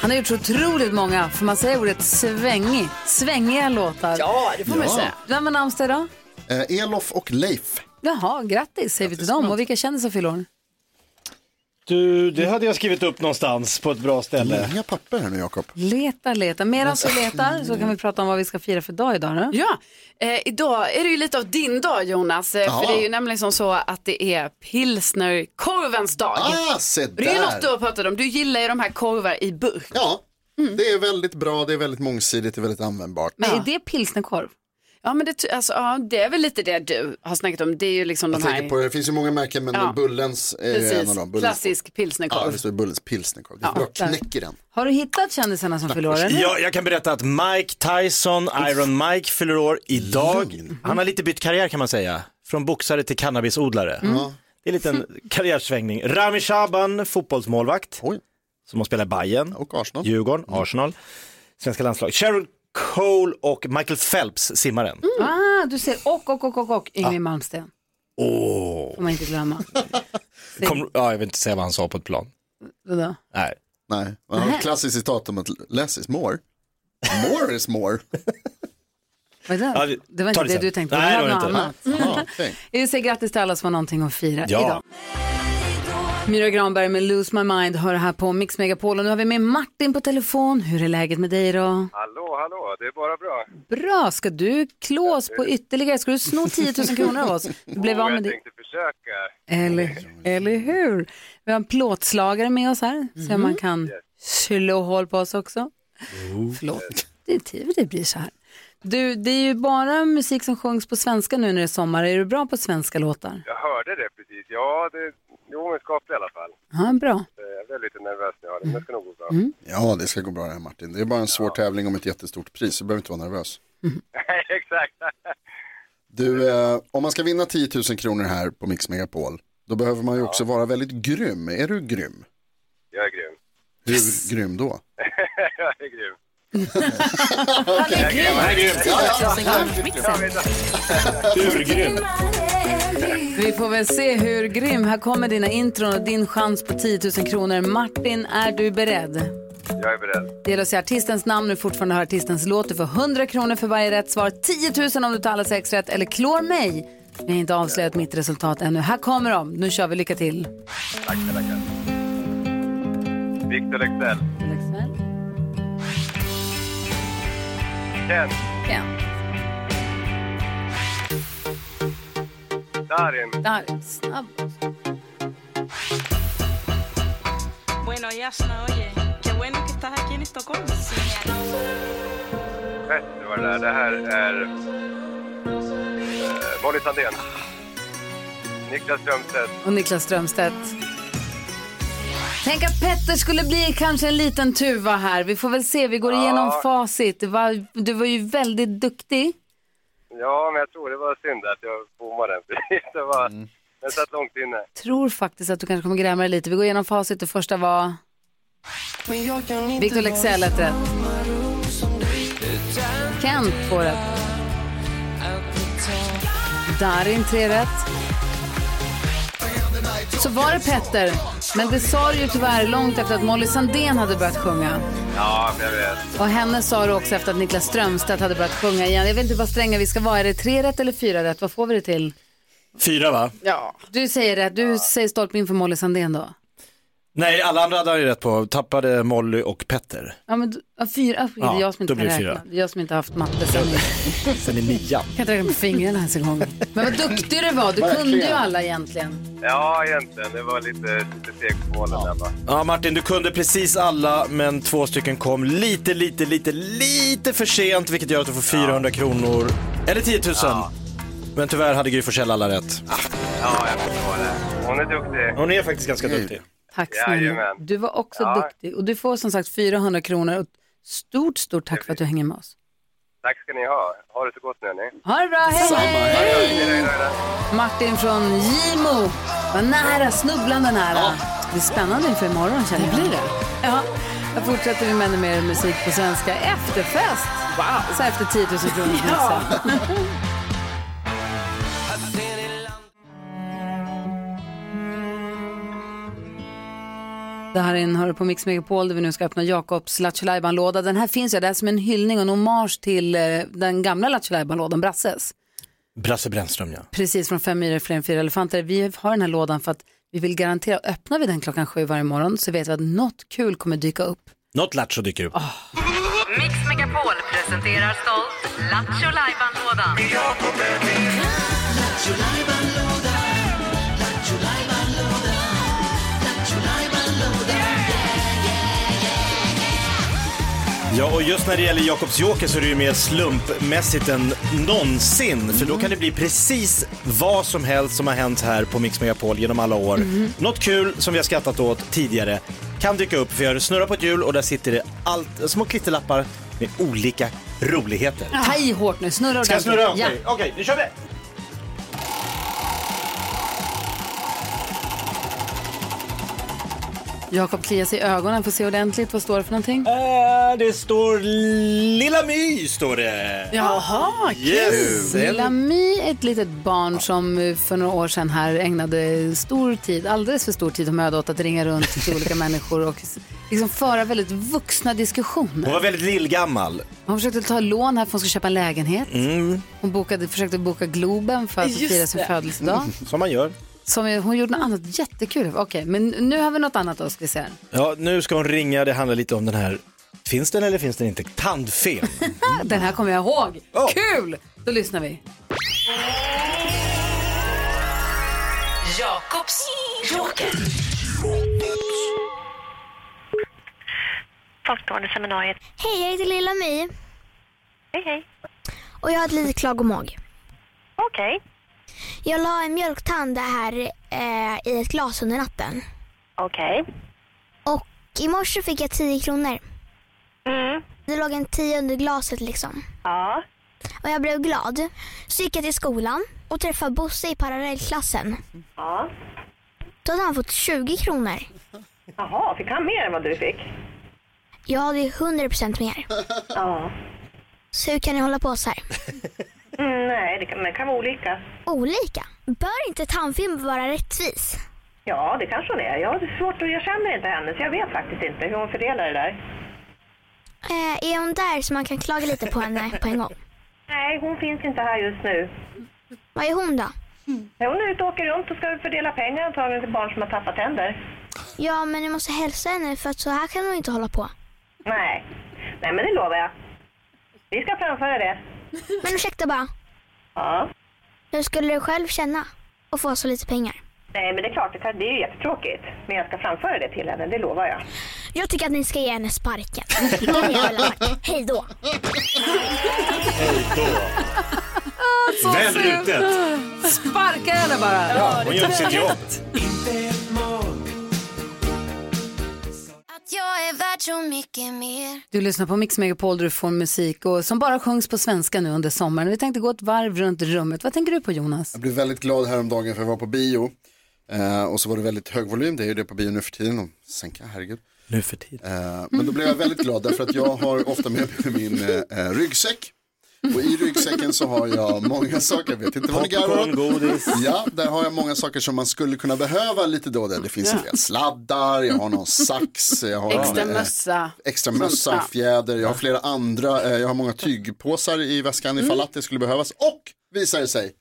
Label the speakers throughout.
Speaker 1: Han har gjort så otroligt många, får man säga ordet svängig, svängiga låtar. Ja, det får
Speaker 2: man ju Ja. säga.
Speaker 1: Vem har namnsdag idag?
Speaker 2: Eh, Elof och Leif.
Speaker 1: Jaha, grattis säger vi till dem. Och vilka kändisar fyller år?
Speaker 3: Du, det hade jag skrivit upp någonstans på ett bra ställe.
Speaker 2: Inga papper här nu Jakob.
Speaker 1: Leta, leta. Medan vi letar så kan vi prata om vad vi ska fira för dag idag. Då.
Speaker 4: Ja, eh, idag är det ju lite av din dag Jonas, eh,
Speaker 2: Ja.
Speaker 4: för det är ju nämligen som så att det är pilsnerkorvens dag.
Speaker 2: Ah, se
Speaker 4: Det är ju
Speaker 2: där.
Speaker 4: något du har pratat om, du gillar ju de här korvar i burk.
Speaker 2: Ja,
Speaker 4: Mm.
Speaker 2: det är väldigt bra, det är väldigt mångsidigt, det är väldigt användbart.
Speaker 1: Men är det pilsnerkorv?
Speaker 4: Ja men det, ty- alltså, ja, det är väl lite det du har snackat om, det är ju liksom
Speaker 2: Jag
Speaker 4: de
Speaker 2: tänker
Speaker 4: här,
Speaker 2: på, det finns ju många märken men
Speaker 4: Ja.
Speaker 2: Bullens är ju en av
Speaker 4: precis,
Speaker 1: Alltså,
Speaker 2: dem. Bullens-
Speaker 4: klassisk
Speaker 2: Ja, det
Speaker 4: pilsnerkorv.
Speaker 2: står ju Bullens pilsnerkorv. Det är bra, knäcker den.
Speaker 1: Har du hittat kändisarna som fyller år? eller?
Speaker 3: Ja, jag kan berätta att Mike Tyson, Iron Mike, fyller år idag.
Speaker 2: Mm.
Speaker 3: Han har lite bytt karriär kan man säga. Från boxare till cannabisodlare.
Speaker 2: Mm.
Speaker 3: Det är en liten karriärsvängning. Rami Shaban, fotbollsmålvakt,
Speaker 2: Oj,
Speaker 3: som har spelat i Bayern,
Speaker 2: och Mm. Arsenal.
Speaker 3: Djurgården, Arsenal, svenska landslag. Cheryl Cole och Michael Phelps, simmaren.
Speaker 2: Mm.
Speaker 1: Ah, du ser och, och, och, och, och Yngwie Malmsteen.
Speaker 3: Åh.
Speaker 1: Får man inte glömma.
Speaker 3: Kom, ja, jag vill inte säga vad han sa på ett plan.
Speaker 1: Vadå?
Speaker 3: Nej.
Speaker 2: Nej, man har ett klassiskt citat om att less is more. More is more.
Speaker 4: Mm.
Speaker 1: Vad är
Speaker 3: Ja,
Speaker 1: det?
Speaker 3: vi-
Speaker 1: Det var
Speaker 3: ta
Speaker 1: inte
Speaker 3: det
Speaker 1: det
Speaker 3: sen.
Speaker 1: du tänkte på,
Speaker 3: Nej,
Speaker 1: det var
Speaker 3: det var
Speaker 1: något
Speaker 3: det inte.
Speaker 1: annat.
Speaker 2: Aha, Ah, okej.
Speaker 1: Vi säger grattis till alla som har någonting att fira
Speaker 3: Ja.
Speaker 1: idag. Myra Granberg med Lose My Mind hör här på Mix Megapol och nu har vi med Martin på telefon. Hur är läget med dig då?
Speaker 5: Hallå, hallå, det är bara bra.
Speaker 1: Bra, ska du klå oss på ytterligare? Ska du sno 10 000 kronor av oss? Du blev av
Speaker 5: Och
Speaker 1: med
Speaker 5: jag
Speaker 1: det.
Speaker 5: tänkte försöka.
Speaker 1: Eller, eller hur? Vi har en plåtslagare med oss här, så man kan slå hål på oss också. Förlåt, det, är tid- det blir så här. Du, det är ju bara musik som sjungs på svenska nu när det är sommar. Är du bra på svenska låtar?
Speaker 5: Jag hörde det precis. Ja, det jo, men skapligt i alla fall. Eh,
Speaker 1: Ja, bra.
Speaker 5: Jag är lite nervös när jag har det, men det ska nog gå bra.
Speaker 2: Ja, det ska gå bra det här Martin. Det är bara en svår tävling om ett jättestort pris, du behöver inte vara nervös.
Speaker 5: Nej, Exakt.
Speaker 2: Du, eh, om man ska vinna 10 000 kronor här på Mix Megapol, då behöver man ju också vara väldigt grym. Är du grym?
Speaker 5: Jag är grym.
Speaker 2: Hur grym då?
Speaker 5: Jag är grym.
Speaker 3: Urgrym.
Speaker 1: Vi får väl se hur grym. Här kommer dina intron och din chans på 10 000 kronor. Martin, är du beredd?
Speaker 5: Jag är beredd.
Speaker 1: Det gäller att säga artistens namn när du fortfarande hör artistens låt. Du får 100 kronor för varje rätt svar, 10 000 om du tar alla sex rätt eller klår mig. Vi har inte avslöjat mitt resultat ännu. Här kommer de. Nu kör vi. Lycka till.
Speaker 5: Tackar, tackar. Victor Leksell. Ken.
Speaker 1: Ken.
Speaker 5: Darin.
Speaker 1: Där. Snabb.
Speaker 6: Bueno, Yasna, oye, qué bueno que estás aquí en Estocolmo.
Speaker 5: Rätt var det där. Det här är... eh, Molly Sandén. Niklas Strömstedt.
Speaker 1: Och Niklas Strömstedt. Tänk att Petter skulle bli kanske en liten tuva här. Vi får väl se. Vi går igenom facit. Du var, du var ju väldigt duktig.
Speaker 5: Ja, men jag tror det var synd att jag bommade den precis. Det var... Jag satt långt inne.
Speaker 1: tror faktiskt att du kanske kommer gräma dig lite. Vi går igenom facit. Det första var... Victor Leksell ett rätt. Kent två rätt. Darin tre rätt. Så var det Petter, men det sa du ju tyvärr långt efter att Molly Sandén hade börjat sjunga.
Speaker 5: Ja, men jag vet.
Speaker 1: Och henne sa du också efter att Niklas Strömstedt hade börjat sjunga igen. Jag vet inte vad stränga vi ska vara. Är det tre rätt eller fyra rätt? Vad får vi det till?
Speaker 3: Fyra va?
Speaker 4: Ja,
Speaker 1: Du säger rätt. Du säger stolpe in för Molly Sandén då.
Speaker 3: Nej, alla andra hade han ju rätt på. Tappade Molly och Petter.
Speaker 1: Ja, men du- ja, fyra. Ah, det är
Speaker 3: Ja,
Speaker 1: jag som inte
Speaker 3: då
Speaker 1: kan
Speaker 3: blir det
Speaker 1: räkna.
Speaker 3: fyra.
Speaker 1: Det är jag som inte har haft matte sen.
Speaker 3: Sen i nian.
Speaker 1: Jag kan inte räkna på fingrarna ens en gång. Men vad duktig du var. Du kunde ju alla egentligen.
Speaker 5: Ja, egentligen. Det var lite, lite seg på målen där va.
Speaker 3: Ja Martin, du kunde precis alla men två stycken kom lite, lite, lite, lite för sent vilket gör att du får 400 kronor, eller 10 000. Men tyvärr hade Gry Forssell alla rätt.
Speaker 5: Ja, jag förstår det. Hon är duktig.
Speaker 3: Hon är faktiskt ganska duktig.
Speaker 1: Tack snälla.
Speaker 5: Jajamän.
Speaker 1: Du var också
Speaker 5: Ja.
Speaker 1: duktig. Och du får som sagt 400 kronor. Och Stort, stort tack för att du hänger med oss.
Speaker 5: Tack ska ni ha. Ha det så gott nu hörni.
Speaker 1: Ha det bra, hej!
Speaker 5: Hej då, hej då, hej då.
Speaker 1: Martin från Gimo. Vad nära, snubblande nära. Det är spännande inför imorgon känner jag. Det blir det. Ja. Jag fortsätter med ännu mer musik på svenska. Efterfest! Wow. Så här efter 10 000 kronor. Ja. Det här är en Hör på Mix Megapol där vi nu ska öppna Jakobs Lattjo låda Den här finns ju där som en hyllning och en hommage till eh, den gamla Lattjo lådan Brasses
Speaker 3: Brasse Brännström ja.
Speaker 1: precis från Fem myror fler än fyra elefanter. Vi har den här lådan för att vi vill garantera, öppnar vi den klockan sju varje morgon så vet vi att något kul kommer dyka upp.
Speaker 3: Något lattjo dyker upp.
Speaker 7: Mix Megapol presenterar stolt Lattjo Lajban-lådan.
Speaker 3: Ja, och just när det gäller Jakobs Joker så är det ju mer slumpmässigt än någonsin. För då kan det bli precis vad som helst som har hänt här på Mix Megapol genom alla år. Något kul som vi har skrattat åt tidigare kan dyka upp. För jag snurrar på ett hjul och där sitter det allt, små klisterlappar med olika roligheter.
Speaker 1: Ta i hårt nu, snurra
Speaker 3: Ska jag
Speaker 1: ordentligt.
Speaker 3: snurra? Okej,
Speaker 1: Ja.
Speaker 3: okej, nu kör vi!
Speaker 1: Jakob kliar sig i ögonen för att se ordentligt. Vad står det för någonting?
Speaker 3: Eh, det står Lilla My, står det.
Speaker 4: Jaha,
Speaker 3: Yes!
Speaker 1: Lilla My är ett litet barn som eh, för några år sedan här ägnade stor tid, alldeles för stor tid och möda åt att ringa runt till olika människor och s- liksom föra väldigt vuxna diskussioner.
Speaker 3: Hon var väldigt lillgammal.
Speaker 1: Hon försökte ta lån här för hon skulle köpa en lägenhet. Hon bokade, försökte boka Globen för att
Speaker 4: Just
Speaker 1: fira sin
Speaker 4: det.
Speaker 1: födelsedag.
Speaker 3: Som man gör.
Speaker 1: Som är, hon gjorde något annat jättekul. Okej, men nu har vi något annat då, ska vi se. här.
Speaker 3: Ja, nu ska hon ringa. Det handlar lite om den här, finns den eller finns den inte? Tandfen.
Speaker 1: Ah, Den här kommer jag ihåg.
Speaker 3: Oh.
Speaker 1: Kul! Då lyssnar vi.
Speaker 7: Jakobs Joker.
Speaker 6: Folkstående seminariet.
Speaker 8: Hej, jag heter Lilla My
Speaker 6: Hej, hej.
Speaker 8: och jag har ett litet klagomag.
Speaker 6: Okej.
Speaker 8: Jag la en mjölktand här eh, i ett glas under natten
Speaker 6: Okej.
Speaker 8: och i morse fick jag 10 kronor.
Speaker 6: Mm.
Speaker 8: Det låg en 10 under glaset liksom
Speaker 6: Ja.
Speaker 8: och jag blev glad. Så gick jag till skolan och träffade Bosse i parallellklassen.
Speaker 6: Ja.
Speaker 8: Då hade han fått 20 kronor.
Speaker 6: Jaha, fick han mer än vad du fick?
Speaker 8: Jag hade ju 100% mer.
Speaker 6: Ja.
Speaker 8: Så hur kan ni hålla på så här?
Speaker 6: Mm, nej, det kan, det kan vara olika.
Speaker 8: Olika? Bör inte tandfilm vara rättvis?
Speaker 6: Ja, det kanske hon är. Jag har svårt att, jag känner inte henne så jag vet faktiskt inte hur hon fördelar det där.
Speaker 8: Eh, är hon där så man kan klaga lite på henne på en gång?
Speaker 6: Nej, hon finns inte här just nu.
Speaker 8: Vad är hon då?
Speaker 6: Men Hon är ute och åker runt och ska fördela pengar antagligen till barn som har tappat tänder.
Speaker 8: Ja, men ni måste hälsa henne för att så här kan hon inte hålla på.
Speaker 6: Nej. Nej, men det lovar jag. Vi ska framföra det.
Speaker 8: Men ursäkta bara.
Speaker 6: Ja.
Speaker 8: Hur skulle du själv känna att få så lite pengar?
Speaker 6: Nej, men det är klart, det, kan, det är ju jättetråkigt. Men jag ska framföra det till henne, det lovar jag.
Speaker 8: Jag tycker att ni ska ge henne sparken. Det är det jag vill ha sagt. Hej då.
Speaker 3: Väl rutet.
Speaker 1: Sparka henne bara!
Speaker 3: Hon gör sitt jobb.
Speaker 8: Att jag är värd så mycket mer.
Speaker 1: Du lyssnar på Mix Megapol där du får musik och som bara sjungs på svenska nu under sommaren. Vi tänkte gå ett varv runt rummet. Vad tänker du på Jonas?
Speaker 2: Jag blev väldigt glad häromdagen för jag var på bio. Eh, och så var det väldigt hög volym, det är ju det på bio nu för tiden. Och sänka, herregud.
Speaker 3: Nu för tiden.
Speaker 2: Eh, men då blev jag väldigt glad därför att jag har ofta med mig min eh, eh, ryggsäck. Och i ryggsäcken så har jag många saker, jag vet inte vad ni
Speaker 3: Popcorn,
Speaker 2: garvar åt.
Speaker 3: godis.
Speaker 2: Ja, där har jag många saker som man skulle kunna behöva lite då och där. Det finns en del sladdar, jag har någon sax, jag har
Speaker 4: Extra
Speaker 2: en, eh,
Speaker 4: mössa.
Speaker 2: extra mössa och fjäder, jag har flera andra, eh, jag har många tygpåsar i väskan
Speaker 1: Mm.
Speaker 2: ifall att det skulle behövas. Och visar det sig,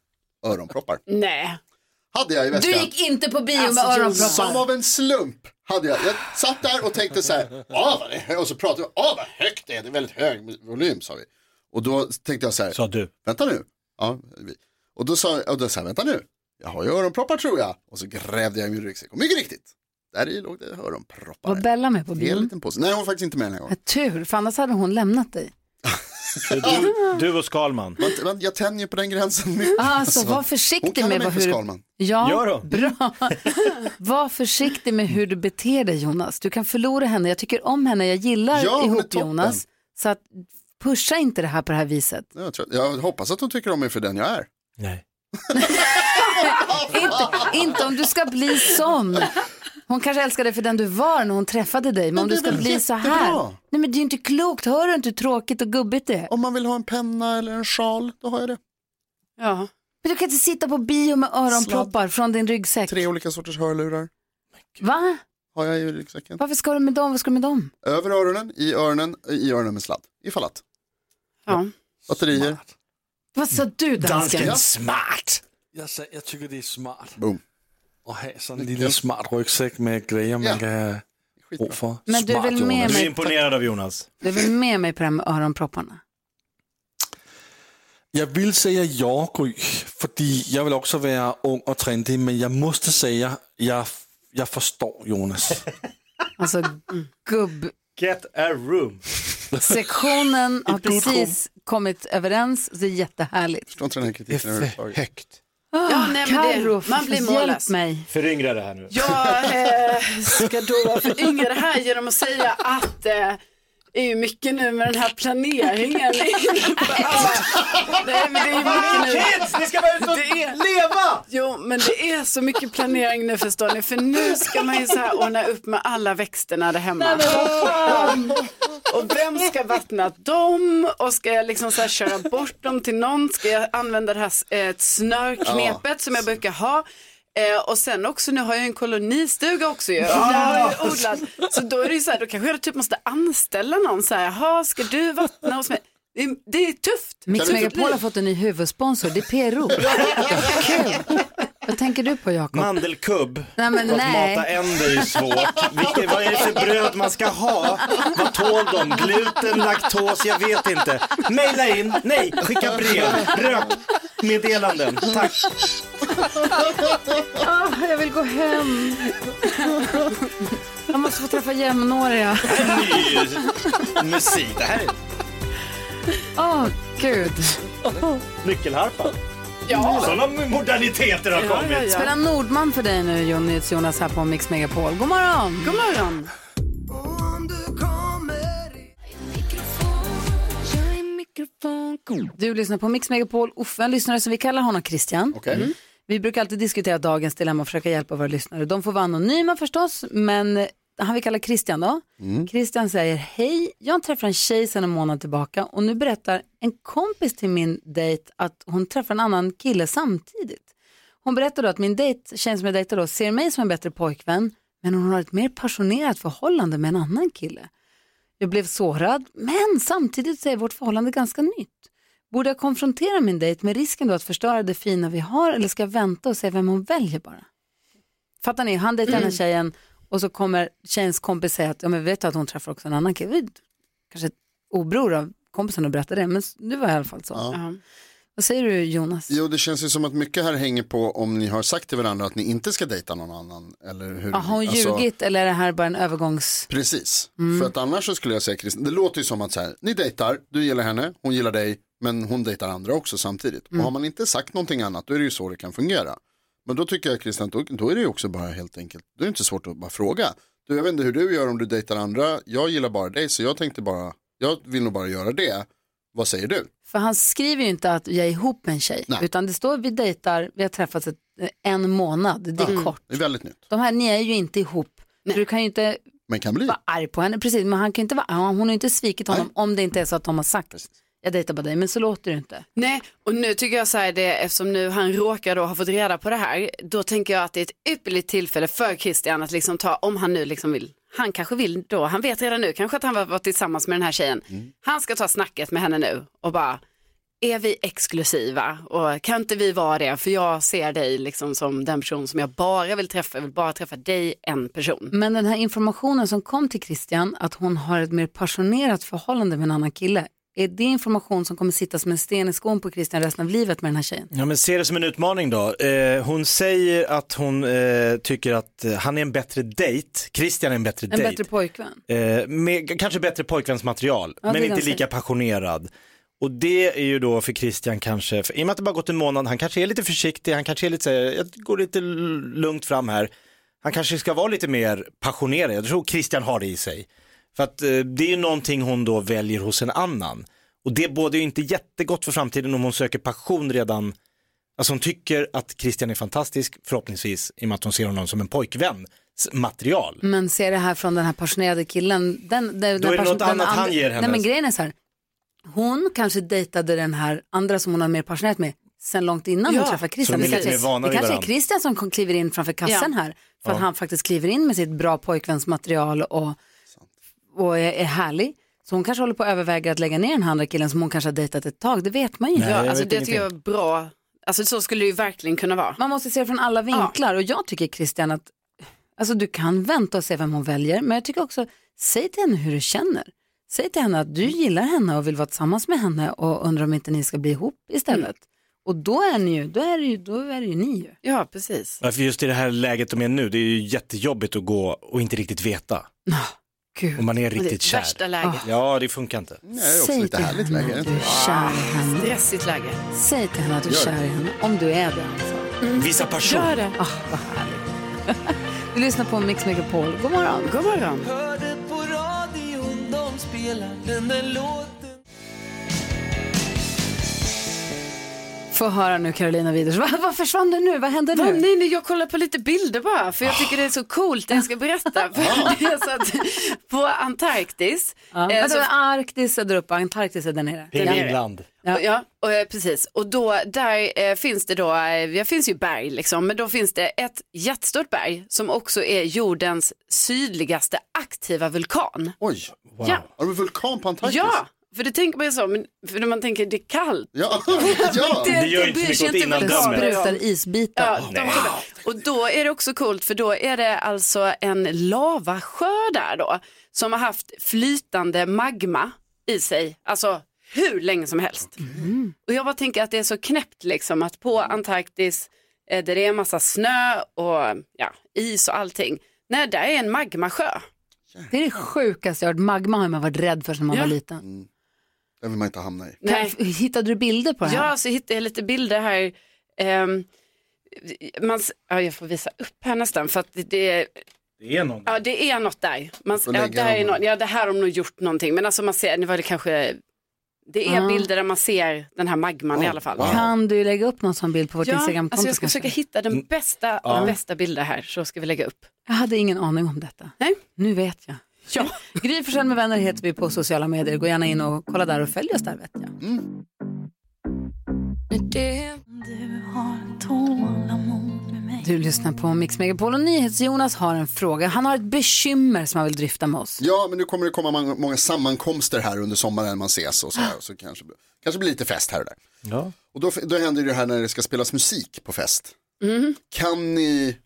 Speaker 2: öronproppar
Speaker 4: Nej.
Speaker 2: hade jag i
Speaker 1: Du
Speaker 2: väskan.
Speaker 1: gick inte på bio med
Speaker 4: Alltså,
Speaker 1: öronproppar.
Speaker 2: Som av en slump hade jag. Jag satt där och tänkte så här, ah, vad det är hö-" och så pratade vi, ah, vad högt det är, det är väldigt hög volym sa vi. Och då tänkte jag så här,
Speaker 3: Sa du.
Speaker 2: vänta nu. Ja, vi. Och då sa jag, och då sa jag, vänta nu, jag har ju öronproppar tror jag. Och så grävde jag i min ryggsäck och mycket riktigt, där i låg det öronproppar.
Speaker 1: Var Bella med på
Speaker 2: Det är en
Speaker 1: bio?
Speaker 2: liten påse. Nej, hon var faktiskt inte med den här gången.
Speaker 1: Vad Tur, för annars hade hon lämnat dig.
Speaker 3: Du, du och Skalman.
Speaker 2: Man- man- Jag tänjer på den gränsen nu.
Speaker 1: Alltså, var
Speaker 2: hon
Speaker 1: försiktig
Speaker 2: kallar
Speaker 1: med
Speaker 2: mig
Speaker 1: vad-
Speaker 2: för
Speaker 1: hur du
Speaker 2: Skalman.
Speaker 3: Gör
Speaker 1: Ja,
Speaker 3: hon?
Speaker 1: bra. Var försiktig med hur du beter dig Jonas. Du kan förlora henne. Jag tycker om henne, jag gillar
Speaker 2: Ja, hon är
Speaker 1: ihop
Speaker 2: toppen.
Speaker 1: Jonas. Så att pusha inte det här på det här viset.
Speaker 2: Jag, tror, jag hoppas att hon tycker om mig för den jag är.
Speaker 3: Nej.
Speaker 1: inte, inte om du ska bli sån. Hon kanske älskar dig för den du var när hon träffade dig, men,
Speaker 2: Men
Speaker 1: om
Speaker 2: det
Speaker 1: du
Speaker 2: är
Speaker 1: ska
Speaker 2: väl
Speaker 1: bli så
Speaker 2: jättebra.
Speaker 1: här. Nej men det är ju inte klokt, hör du inte hur tråkigt och gubbigt det är?
Speaker 2: Om man vill ha en penna eller en sjal, då har jag det.
Speaker 1: Ja. Men du kan inte sitta på bio med öronproppar från din ryggsäck.
Speaker 2: Tre olika sorters hörlurar
Speaker 1: Va?
Speaker 2: har jag i ryggsäcken.
Speaker 1: Varför ska du med dem? Vad ska du med dem?
Speaker 2: Över öronen, i öronen, i öronen med sladd. Ifall att.
Speaker 1: Ja.
Speaker 2: Batterier.
Speaker 1: Vad sa du dansken?
Speaker 2: Ja.
Speaker 9: smart. Jag, sa, jag tycker det är smart.
Speaker 2: Boom.
Speaker 9: Att ha sådan en liten smart ryggsäck med grejer man kan ha brug for.
Speaker 1: Men du är
Speaker 9: Smart,
Speaker 1: väl med
Speaker 9: Jonas.
Speaker 3: Du är imponerad av Jonas.
Speaker 1: Du är väl med mig på det här med öronpropparna?
Speaker 9: Jeg vil sige ja, Gry, fordi jeg vil også være ung og trendy, men jeg måste sige, jeg, jeg forstår Jonas.
Speaker 1: Alltså gubb...
Speaker 3: Get a room.
Speaker 1: Sektionen har
Speaker 3: Ett ord
Speaker 1: precis kommit överens, så det är jättehärligt.
Speaker 2: Förstår inte den här kritiken överhuvudtaget. Högt.
Speaker 1: Ja,
Speaker 4: nej, men det-
Speaker 1: Carro,
Speaker 4: man blir mållös.
Speaker 1: hjälp mig.
Speaker 3: Föryngra det här nu.
Speaker 4: Jag eh, ska då föryngra det här genom att säga att eh, det är ju mycket nu med den här planeringen. Nej, men det är ju mycket nu.
Speaker 3: Kids, ni ska vara ute och
Speaker 4: Det är-
Speaker 3: leva!
Speaker 4: Jo, men det är så mycket planering nu förstår ni, för nu ska man ju så här ordna upp med alla växterna där hemma. Och vem ska vattna dem? Och ska jag liksom så här köra bort dem till någon? Ska jag använda det här eh, snörknepet som jag brukar ha? Eh, och sen också, nu har jag ju en kolonistuga också ju. Och där har jag ju odlat. Så då är det ju så här, då kanske jag typ måste anställa någon så här, jaha, ska du vattna hos mig? Det är, det är tufft.
Speaker 1: Mix
Speaker 4: Kan det inte
Speaker 1: Megapol har
Speaker 4: bli?
Speaker 1: fått en ny huvudsponsor, det är PRO. Kul. Vad tänker du på Jakob?
Speaker 3: Mandelkubb.
Speaker 1: Nej, men
Speaker 3: att
Speaker 1: nej.
Speaker 3: mata änder är ju svårt. Vilket, vad är det för bröd man ska ha? Vad tål de? Gluten, laktos, jag vet inte. Maila in, nej, skicka brev, rök, meddelanden. Tack.
Speaker 1: Ah, jag vill gå hem. Jag måste få träffa jämnåriga.
Speaker 3: Ny musik, det här är
Speaker 1: Åh, gud.
Speaker 3: nyckelharpa.
Speaker 4: Ja.
Speaker 3: Sådana moderniteter har kommit.
Speaker 1: Spela Nordman för dig nu, Jonas, Jonas här på Mix Megapol. God morgon!
Speaker 4: God morgon!
Speaker 1: Du lyssnar på Mix Megapol. Uffe, en lyssnare som vi kallar honom Christian. Mm. Vi brukar alltid diskutera dagens dilemma och försöka hjälpa våra lyssnare. De får vara anonyma förstås, men han vi kallar Christian då. Christian säger, hej, jag träffar en tjej sedan en månad tillbaka och nu berättar en kompis till min dejt att hon träffar en annan kille samtidigt. Hon berättar då att min dejt, tjejen som jag dejtar då, ser mig som en bättre pojkvän, men hon har ett mer passionerat förhållande med en annan kille. Jag blev sårad, men samtidigt så är vårt förhållande ganska nytt. Borde jag konfrontera min dejt med risken då att förstöra det fina vi har eller ska jag vänta och se vem hon väljer bara? Fattar ni? Han dejtar den här tjejen och så kommer tjejens kompis säga att ja, men vi vet du att hon träffar också en annan kille. Vi- Kanske ett obror av kompisen och berättar det, men det var i alla fall så. Vad säger du Jonas?
Speaker 2: Jo, det känns ju som att mycket här hänger på om ni har sagt till varandra att ni inte ska dejta någon annan. Eller hur,
Speaker 1: Ja, har hon
Speaker 2: alltså-
Speaker 1: ljugit eller är det här bara en övergångs...
Speaker 2: Precis,
Speaker 4: Mm.
Speaker 2: för att annars så skulle jag säga Kristin, det låter ju som att så här, ni dejtar, du gillar henne, hon gillar dig, men hon dejtar andra också samtidigt.
Speaker 4: Mm.
Speaker 2: Och har man inte sagt någonting annat, då är det ju så det kan fungera. Men då tycker jag Kristin, då, då är det ju också bara helt enkelt, då är det inte svårt att bara fråga. Du, jag vet inte hur du gör om du dejtar andra, jag gillar bara dig, så jag tänkte bara, jag vill nog bara göra det. Vad säger du?
Speaker 1: För han skriver ju inte att jag är ihop med en tjej,
Speaker 2: Nej.
Speaker 1: utan det står vi dejtar, vi har träffats ett, en månad, det är kort.
Speaker 2: Ah, Det är väldigt nytt,
Speaker 1: De här, ni är ju inte ihop, så du kan ju inte
Speaker 2: men kan bli.
Speaker 1: vara arg på henne. Precis, men han kan ju inte vara arg. Hon har ju inte svikit honom om det inte är så att de har sagt jag dejtar bara dig, men så låter det inte.
Speaker 4: Nej, och nu tycker jag så här det, eftersom nu han råkar då ha fått reda på det här, då tänker jag att det är ett ypperligt tillfälle för Christian att liksom ta, om han nu liksom vill, han kanske vill då, han vet redan nu kanske att han var, var tillsammans med den här tjejen,
Speaker 1: Mm.
Speaker 4: han ska ta snacket med henne nu och bara, är vi exklusiva och kan inte vi vara det, för jag ser dig liksom som den person som jag bara vill träffa, jag vill bara träffa dig, en person.
Speaker 1: Men den här informationen som kom till Christian, att hon har ett mer passionerat förhållande med en annan kille, är det information som kommer sitta som en sten i skon på Christian resten av livet med den här tjejen?
Speaker 3: Ja men se det som en utmaning då. Eh, hon säger att hon eh, tycker att eh, han är en bättre dejt, Christian är en bättre
Speaker 1: En
Speaker 3: dejt.
Speaker 1: bättre pojkvän?
Speaker 3: Eh, med, kanske bättre pojkvänsmaterial,
Speaker 1: Ja, det
Speaker 3: men
Speaker 1: är
Speaker 3: inte
Speaker 1: ganska-
Speaker 3: lika passionerad. Och det är ju då för Christian kanske, för, i och med att det bara gått en månad, han kanske är lite försiktig, han kanske är lite så här, jag går lite l- lugnt fram här. Han kanske ska vara lite mer passionerad, jag tror Christian har det i sig. För att eh, det är ju någonting hon då väljer hos en annan. Och det bådar ju inte jättegott för framtiden om hon söker passion redan. Alltså hon tycker att Christian är fantastisk förhoppningsvis i och med att hon ser honom som en pojkvän material.
Speaker 4: Mm.
Speaker 1: Men se det här från den här passionerade killen. Den, den, den
Speaker 3: är det
Speaker 1: passion-
Speaker 3: något
Speaker 1: den
Speaker 3: annat han
Speaker 1: andra-
Speaker 3: ger henne.
Speaker 1: Nej men grejen är så här. Hon kanske dejtade den här andra som hon har mer passionerat med sen långt innan
Speaker 4: Ja.
Speaker 1: hon träffade Christian.
Speaker 3: Så de är
Speaker 1: det
Speaker 3: lite
Speaker 1: kanske,
Speaker 3: mer vana
Speaker 1: det
Speaker 3: vid
Speaker 1: kanske är
Speaker 3: varandra.
Speaker 1: Christian som kom- kliver in framför kassen
Speaker 4: Ja.
Speaker 1: här. För att
Speaker 3: Ja.
Speaker 1: han faktiskt kliver in med sitt bra pojkvänsmaterial och, och är, är härlig. Så hon kanske håller på att överväga att lägga ner den här andra killen som hon kanske har dejtat ett tag. Det vet man ju inte.
Speaker 4: ja,
Speaker 3: Eh,
Speaker 4: alltså, det tycker jag är bra. Alltså så skulle det ju verkligen kunna vara.
Speaker 1: Man måste se det från alla vinklar och jag tycker Christian att alltså, du kan vänta och se vem hon väljer men jag tycker också säg till henne hur du känner. Säg till henne att du
Speaker 4: Mm.
Speaker 1: gillar henne och vill vara tillsammans med henne och undrar om inte ni ska bli ihop istället.
Speaker 4: Mm.
Speaker 1: Och då är, ni ju, då, är det ju, då är det ju ni ju.
Speaker 4: Ja, precis.
Speaker 3: Varför just i det här läget de är nu, det är ju jättejobbigt att gå och inte riktigt veta.
Speaker 1: Gud.
Speaker 3: Och man är riktigt
Speaker 4: Det är
Speaker 3: kär.
Speaker 4: värsta läget. Mm.
Speaker 3: Ja, det funkar inte.
Speaker 1: Säg till henne att Du är kär i henne.
Speaker 4: Stressigt läge.
Speaker 1: Säg till henne att du är
Speaker 3: Gör det.
Speaker 1: kär i henne, om du är det alltså.
Speaker 3: Visa passion.
Speaker 1: Gör det. Ah, vad härligt. Vi lyssnar på Mix Megapol. God morgon.
Speaker 4: God morgon.
Speaker 10: Hörde på radion de spelar den där låten
Speaker 1: Få höra nu Carolina Widers. Vad, vad försvann du nu? Vad hände nu?
Speaker 4: Va? Nej, nej, jag kollar på lite bilder bara, för jag tycker det är så coolt det jag ska berätta. För det är så att, på Antarktis,
Speaker 1: Ja.
Speaker 4: eh,
Speaker 1: Alltså,
Speaker 4: så
Speaker 1: Arktis är där uppe, Antarktis är där nere.
Speaker 4: Ja, och, eh, precis. Och då, där eh, finns det då, eh, ja, finns ju berg liksom, men då finns det ett jättestort berg som också är jordens sydligaste aktiva vulkan.
Speaker 2: Oj,
Speaker 4: wow. Ja.
Speaker 2: har du en vulkan på Antarktis?
Speaker 4: Ja, för det tänker man ju så, men, för när man tänker det är kallt.
Speaker 2: Ja,
Speaker 4: Men
Speaker 2: ja.
Speaker 4: det gör inte så mycket åt
Speaker 1: Det sprutar isbitar.
Speaker 4: Ja, de kommer. och då är det också coolt för då är det alltså en lavasjö där då som har haft flytande magma i sig, alltså hur länge som helst.
Speaker 2: Mm.
Speaker 4: Och jag bara tänker att det är så knäppt liksom att på Antarktis eh, där det är en massa snö och ja, is och allting, nej där är en magmasjö.
Speaker 1: Det är det sjukaste jag har hört. Magma har man varit rädd för när man
Speaker 4: Ja.
Speaker 1: var liten.
Speaker 2: Den vill man inte hamna i.
Speaker 4: Nej.
Speaker 1: Kan- Hittade du bilder på det här?
Speaker 4: Ja, så hittade jag lite bilder här. Ehm, man, s- ja, jag får visa upp här nästan för att det, det
Speaker 3: Det är någon.
Speaker 4: Ja, det är något där. Man,
Speaker 3: får
Speaker 4: ja,
Speaker 3: lägga
Speaker 4: där är
Speaker 3: dem.
Speaker 4: något, ja, det här har de nog gjort någonting. Men alltså man ser, nu var det kanske, det är
Speaker 1: Ja.
Speaker 4: bilder där man ser den här magman i alla fall.
Speaker 1: Ah. Kan du lägga upp någon sån bild på vårt
Speaker 4: Ja,
Speaker 1: Instagramkonto?
Speaker 4: alltså jag ska
Speaker 1: kanske?
Speaker 4: försöka hitta den
Speaker 2: Mm.
Speaker 4: bästa,
Speaker 1: Ja.
Speaker 4: de bästa bilder här så ska vi lägga upp.
Speaker 1: Jag hade ingen aning om detta.
Speaker 4: Nej.
Speaker 1: Nu vet jag. Ja. Gry Forssell med vänner heter vi på sociala medier. Gå gärna in och kolla där och följ oss där vet jag. Du lyssnar på Mix Megapol och NyhetsJonas har en fråga. Han har ett bekymmer som han vill dryfta med oss.
Speaker 2: Ja, men nu kommer det komma många- många sammankomster här under sommaren man ses och så här. Och så kanske, kanske blir lite fest här och där.
Speaker 3: Ja.
Speaker 2: Och då, då händer det här när det ska spelas musik på fest.
Speaker 1: Mm.
Speaker 2: Kan ni,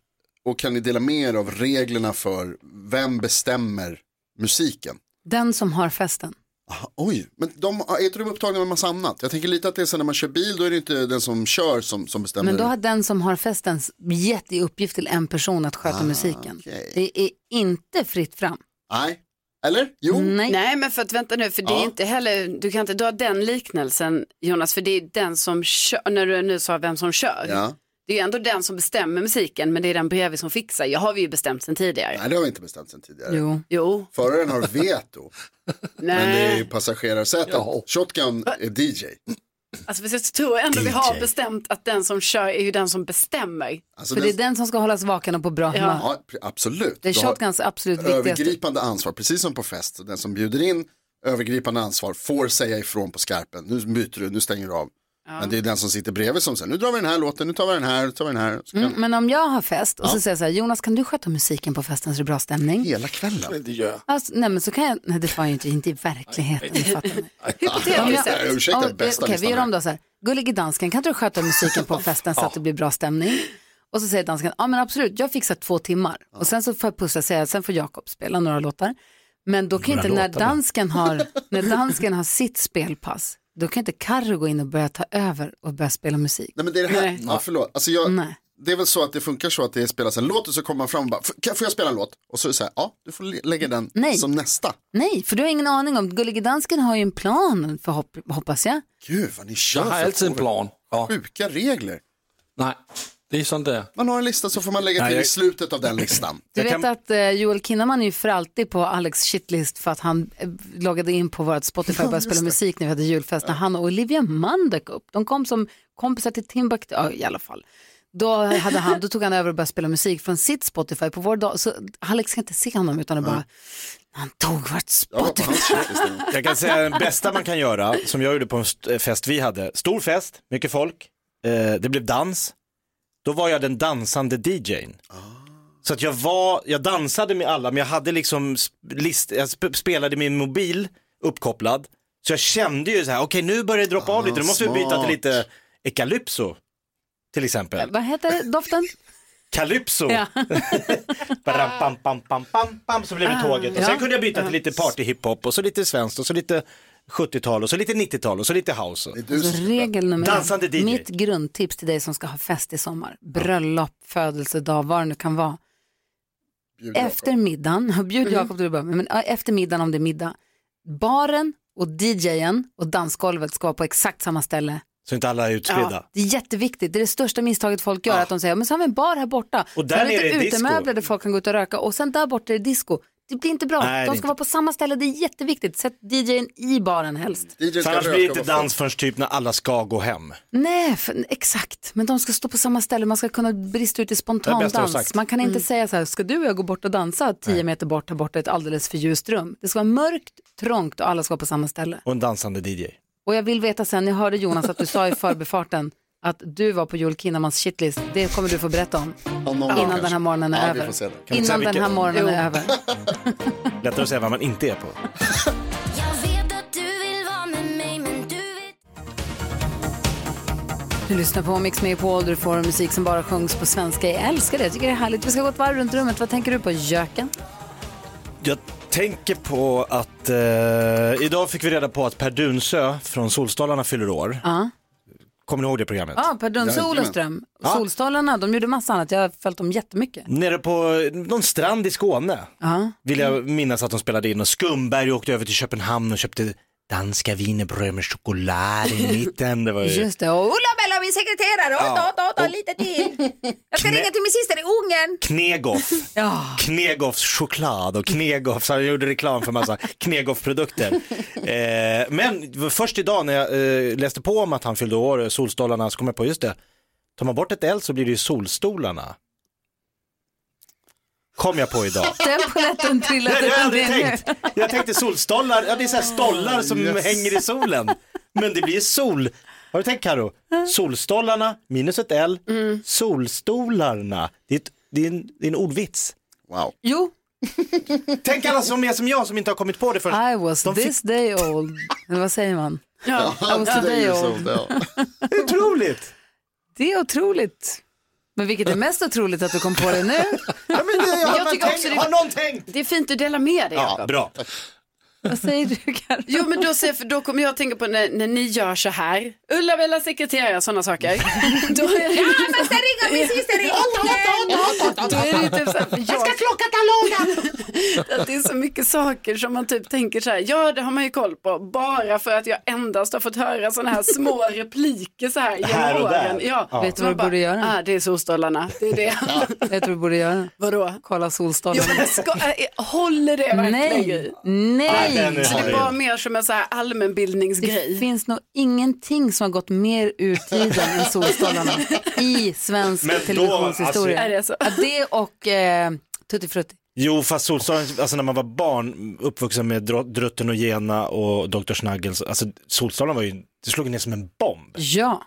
Speaker 2: och kan ni dela med er av reglerna för vem bestämmer musiken? Ah,
Speaker 1: Den som har festen.
Speaker 2: Oj, men de, ah, är inte de upptagna med en massa annat? Jag tänker lite att det är så när man kör bil, då är det inte den som kör som, som bestämmer.
Speaker 1: Men då har den som har festen gett i uppgift till en person att sköta musiken. Det är inte fritt fram.
Speaker 2: Nej, eller? Jo.
Speaker 1: Nej.
Speaker 4: Nej, men för att vänta nu, för det är
Speaker 2: Ja.
Speaker 4: inte heller, du kan inte dra den liknelsen Jonas, för det är den som kör, när du nu sa vem som kör.
Speaker 2: Ja.
Speaker 4: Det är ju ändå den som bestämmer musiken, men det är den bredvid som fixar. Jag har vi ju bestämt sedan tidigare.
Speaker 2: Nej, det har vi inte bestämt sedan tidigare.
Speaker 1: Jo.
Speaker 4: Jo.
Speaker 2: Föraren har veto, men det är
Speaker 1: Eh.
Speaker 4: Nej.
Speaker 2: ju passagerarsätet. Shotgun är DJ.
Speaker 4: Alltså, för jag tror ändå vi
Speaker 2: DJ.
Speaker 4: har bestämt att den som kör är ju den som bestämmer.
Speaker 2: Alltså,
Speaker 1: För det är den som ska hållas vaken och på bra humör.
Speaker 2: Ja, pr- absolut.
Speaker 1: Det är
Speaker 2: Du har
Speaker 1: shotguns absolut viktigaste.
Speaker 2: Övergripande ansvar, precis som på fest. Så Den som bjuder in, övergripande ansvar, får säga ifrån på skarpen. Nu byter du, nu stänger du av. Men det är den som sitter bredvid som säger, nu drar vi den här låten, nu tar vi den här, nu tar vi den här. Så kan...
Speaker 1: Mm, men om jag har fest och så säger jag så här, Jonas kan du sköta musiken på festen så det är bra stämning?
Speaker 2: Hela kvällen.
Speaker 9: Det gör jag.
Speaker 1: Alltså, nej men så kan jag, nej det får jag ju inte, inte i verkligheten, ni fattar mig. Om jag-
Speaker 2: Ja, Ursäkta,
Speaker 1: om-
Speaker 2: bästa
Speaker 1: Okej, vi
Speaker 2: listan
Speaker 1: gör
Speaker 2: här.
Speaker 1: om då så här. Gullige dansken, kan inte du sköta musiken på festen så att det blir bra stämning? Och så säger dansken, ja men absolut, jag fixar två timmar. Och sen så får jag pussa och säga, sen får Jakob spela några låtar. Men då kan ju
Speaker 3: Några
Speaker 1: inte, när
Speaker 3: låtar, va?
Speaker 1: dansken, har, när dansken har sitt spelpass, då kan inte Carro gå in och börja ta över och börja spela musik.
Speaker 2: Nej men det är det här, ja, förlåt. Alltså jag,
Speaker 1: Nej.
Speaker 2: Det är väl så att det funkar så att det spelas en låt och så kommer man fram och bara, "F- kan- får jag spela en låt? Och så är det så här, ja, du får le- lägga den
Speaker 1: Nej.
Speaker 2: som nästa.
Speaker 1: Nej, för du har ingen aning om, Gullige dansken har ju en plan, för hoppas jag.
Speaker 2: Gud vad ni kör.
Speaker 9: Jag har
Speaker 2: för
Speaker 9: alltid en
Speaker 2: frågor.
Speaker 9: plan. Ja.
Speaker 2: Sjuka regler.
Speaker 9: Nej, Det är sånt där.
Speaker 2: Man har en lista så får man lägga
Speaker 9: Nej,
Speaker 2: till
Speaker 9: jag-
Speaker 2: i slutet av den listan.
Speaker 1: Du vet att eh, Joel Kinnaman är ju för alltid på Alex shitlist för att han eh, loggade in på vårt Spotify och började spela musik när vi hade julfest när han och Olivia Mann dök upp. De kom som kompisar till Timbuk, ja, i alla fall. Då, hade han, då tog han över och började spela musik från sitt Spotify på vår dag. Så Alex kan inte se honom utan det bara, han tog vårt Spotify.
Speaker 3: Jag kan säga den bästa man kan göra, som jag gjorde på en st- eh, fest vi hade. Stor fest, mycket folk, eh, det blev dans. Då var jag den dansande DJn. Så att jag var, jag dansade med alla, men jag hade liksom, sp- list, jag sp- spelade min mobil uppkopplad. Så jag kände ju så här, okej nu börjar det droppa av lite, då måste vi byta
Speaker 1: smart.
Speaker 3: till lite Ekalypso. Till exempel.
Speaker 1: Vad heter doften?
Speaker 3: Calypso.
Speaker 1: Ja.
Speaker 3: Bara pam, pam, pam, pam, pam, så blev det
Speaker 1: Ah,
Speaker 3: tåget. Och
Speaker 1: ja.
Speaker 3: sen kunde jag byta till lite partyhiphop och så lite svenskt och så lite 70-tal och så lite 90-tal och så lite house.
Speaker 1: Alltså, regel nummer
Speaker 3: Dansande
Speaker 1: ett.
Speaker 3: DJ.
Speaker 1: Mitt grundtips till dig som ska ha fest i sommar, bröllop, födelsedag, vad det nu kan vara. Efter middagen,
Speaker 3: Mm-hmm.
Speaker 1: bjud Jakob till att börja med, men ja, efter middagen om det är middag. Baren och DJen och dansgolvet ska vara på exakt samma ställe.
Speaker 3: Så inte alla är utspridda.
Speaker 1: det är jätteviktigt, det är det största misstaget folk gör, att de säger men så har vi en bar här borta.
Speaker 3: Och där
Speaker 1: Sen har vi
Speaker 3: nere
Speaker 1: lite
Speaker 3: är disco.
Speaker 1: utemöbler där folk kan gå ut och röka och sen där borta är det disco. Det blir inte bra,
Speaker 3: Nej, det är
Speaker 1: de ska
Speaker 3: inte-
Speaker 1: vara på samma ställe, det är jätteviktigt. Sätt DJen i baren helst.
Speaker 2: DJ
Speaker 3: För
Speaker 2: ska
Speaker 3: annars
Speaker 2: röka
Speaker 3: blir det
Speaker 2: och
Speaker 3: inte
Speaker 2: vara
Speaker 3: dans förrän typ när alla ska gå hem.
Speaker 1: Nej, för, exakt. Men de ska stå på samma ställe. Man ska kunna brista ut i
Speaker 3: Det är
Speaker 1: spontan
Speaker 3: bäst du har
Speaker 1: dans.
Speaker 3: sagt.
Speaker 1: Man kan inte
Speaker 3: Mm.
Speaker 1: säga så här, ska du och jag gå bort och dansa tio meter bort, här borta i ett alldeles för ljust rum. Det ska vara mörkt, trångt och alla ska vara på samma ställe.
Speaker 3: Och en dansande DJ.
Speaker 1: Och jag vill veta sen, jag hörde Jonas att du sa i förbifarten att du var på Joel Kinnamans shitlist. Det kommer du få berätta om
Speaker 2: någon
Speaker 1: innan
Speaker 3: gång
Speaker 1: den här
Speaker 3: kanske.
Speaker 1: morgonen är
Speaker 3: Ja, vi
Speaker 1: över.
Speaker 3: får se det. Kan vi inte säga
Speaker 1: Innan den
Speaker 3: vilken?
Speaker 1: här morgonen
Speaker 3: Jo.
Speaker 1: är över.
Speaker 3: Lättare att säga vad man inte är på.
Speaker 1: Du lyssnar på Mix Megapol, du får musik som bara sjungs på svenska. Jag älskar det, jag tycker det är härligt. Vi ska gå ett varv runt rummet. Vad tänker du på, Jöken?
Speaker 3: Jag tänker på att eh, idag fick vi reda på att Per Dunsö från Solstolarna fyller år.
Speaker 1: Ja.
Speaker 3: Kommer ni ihåg det programmet?
Speaker 1: Ja, Per Dunse och Olofström.
Speaker 3: Ja.
Speaker 1: Solstolarna, de gjorde massa annat. Jag har följt dem jättemycket.
Speaker 3: Nere på någon strand i Skåne.
Speaker 1: Ja.
Speaker 3: vill jag minnas att de spelade in och Skumberg åkte över till Köpenhamn och köpte danska wienerbröd med choklad i mitten. Det var ju...
Speaker 1: Just det, och Ulla Bella, min sekreterare, åt,
Speaker 3: Ja.
Speaker 1: åt, åt, åt, lite till. Jag ska
Speaker 3: Knä-
Speaker 1: ringa till min syster i Ungern.
Speaker 3: Knegoff.
Speaker 1: Ja.
Speaker 3: Knegoffs choklad och Knegoffs, han gjorde reklam för massa Knegoff-produkter. Eh, men det var först idag när jag eh, läste på om att han fyllde år, Solstolarna, så kom jag på just det. Tar man bort ett L så blir det ju Solstolarna. Kom jag på idag.
Speaker 1: Den polletten
Speaker 3: Nej,
Speaker 1: trillade
Speaker 3: det har jag aldrig
Speaker 1: ner nu.
Speaker 3: tänkt. Jag tänkte solstollar, ja det är så här stollar som
Speaker 1: Yes.
Speaker 3: hänger i solen. Men det blir sol. Har du tänkt Karo? Solstollarna minus ett L, solstolarna. Det är, ett, det, är en, det är en ordvits.
Speaker 2: Wow.
Speaker 1: Jo.
Speaker 3: Tänk alla som är som jag som inte har kommit på det först.
Speaker 1: I was this day old. Eller vad säger man?
Speaker 3: Ja.
Speaker 1: I
Speaker 2: Alltså,
Speaker 1: was today old.
Speaker 3: Det är otroligt.
Speaker 1: Det är otroligt. Men vilket är mest otroligt att du kom på det nu?
Speaker 3: Ja, men det,
Speaker 4: Jag tycker också det-
Speaker 3: Har någon tänkt?
Speaker 4: Det är fint du delar med dig.
Speaker 3: Ja, bra.
Speaker 1: Vad säger du Karin?
Speaker 4: Jo men då, ser, för då kommer jag att tänka på när, när ni gör så här. Ulla-Bella sekreterare och sådana saker. då är det
Speaker 7: Ja,
Speaker 4: liksom-
Speaker 7: men sen ringer min syster i
Speaker 4: Då är det ju typ så här, för jag ska
Speaker 7: klocka talogen!
Speaker 4: att det är så mycket saker som man typ tänker så här, ja det har man ju koll på, bara för att jag endast har fått höra sådana här små repliker så här genom
Speaker 1: Här och där.
Speaker 4: åren. Ja.
Speaker 1: Ja. Vet du vad
Speaker 4: Man
Speaker 1: du borde göra?
Speaker 4: Ah, det är solstolarna, det är det.
Speaker 1: Vet du vad du borde göra?
Speaker 4: Vadå?
Speaker 1: Kolla
Speaker 4: Jo,
Speaker 1: solstolarna.
Speaker 4: men ska, äh, håller det verkligen
Speaker 1: Nej.
Speaker 4: i?
Speaker 1: Nej. Nej, den är
Speaker 4: Så det är
Speaker 1: härlig.
Speaker 4: bara mer som en så här allmänbildningsgrej.
Speaker 1: Det finns nog ingenting som har gått mer ur tiden än Solstolarna i svensk
Speaker 3: Men då,
Speaker 1: televisionshistoria.
Speaker 3: alltså- Är
Speaker 1: det,
Speaker 3: det
Speaker 1: och eh, Tutti Frutti.
Speaker 3: Jo, fast solstolarna, alltså när man var barn, uppvuxen med Dr- Drutten och Gena och Dr. Snaggle, så- alltså solstolarna var ju, det slog ner som en bomb.
Speaker 1: Ja.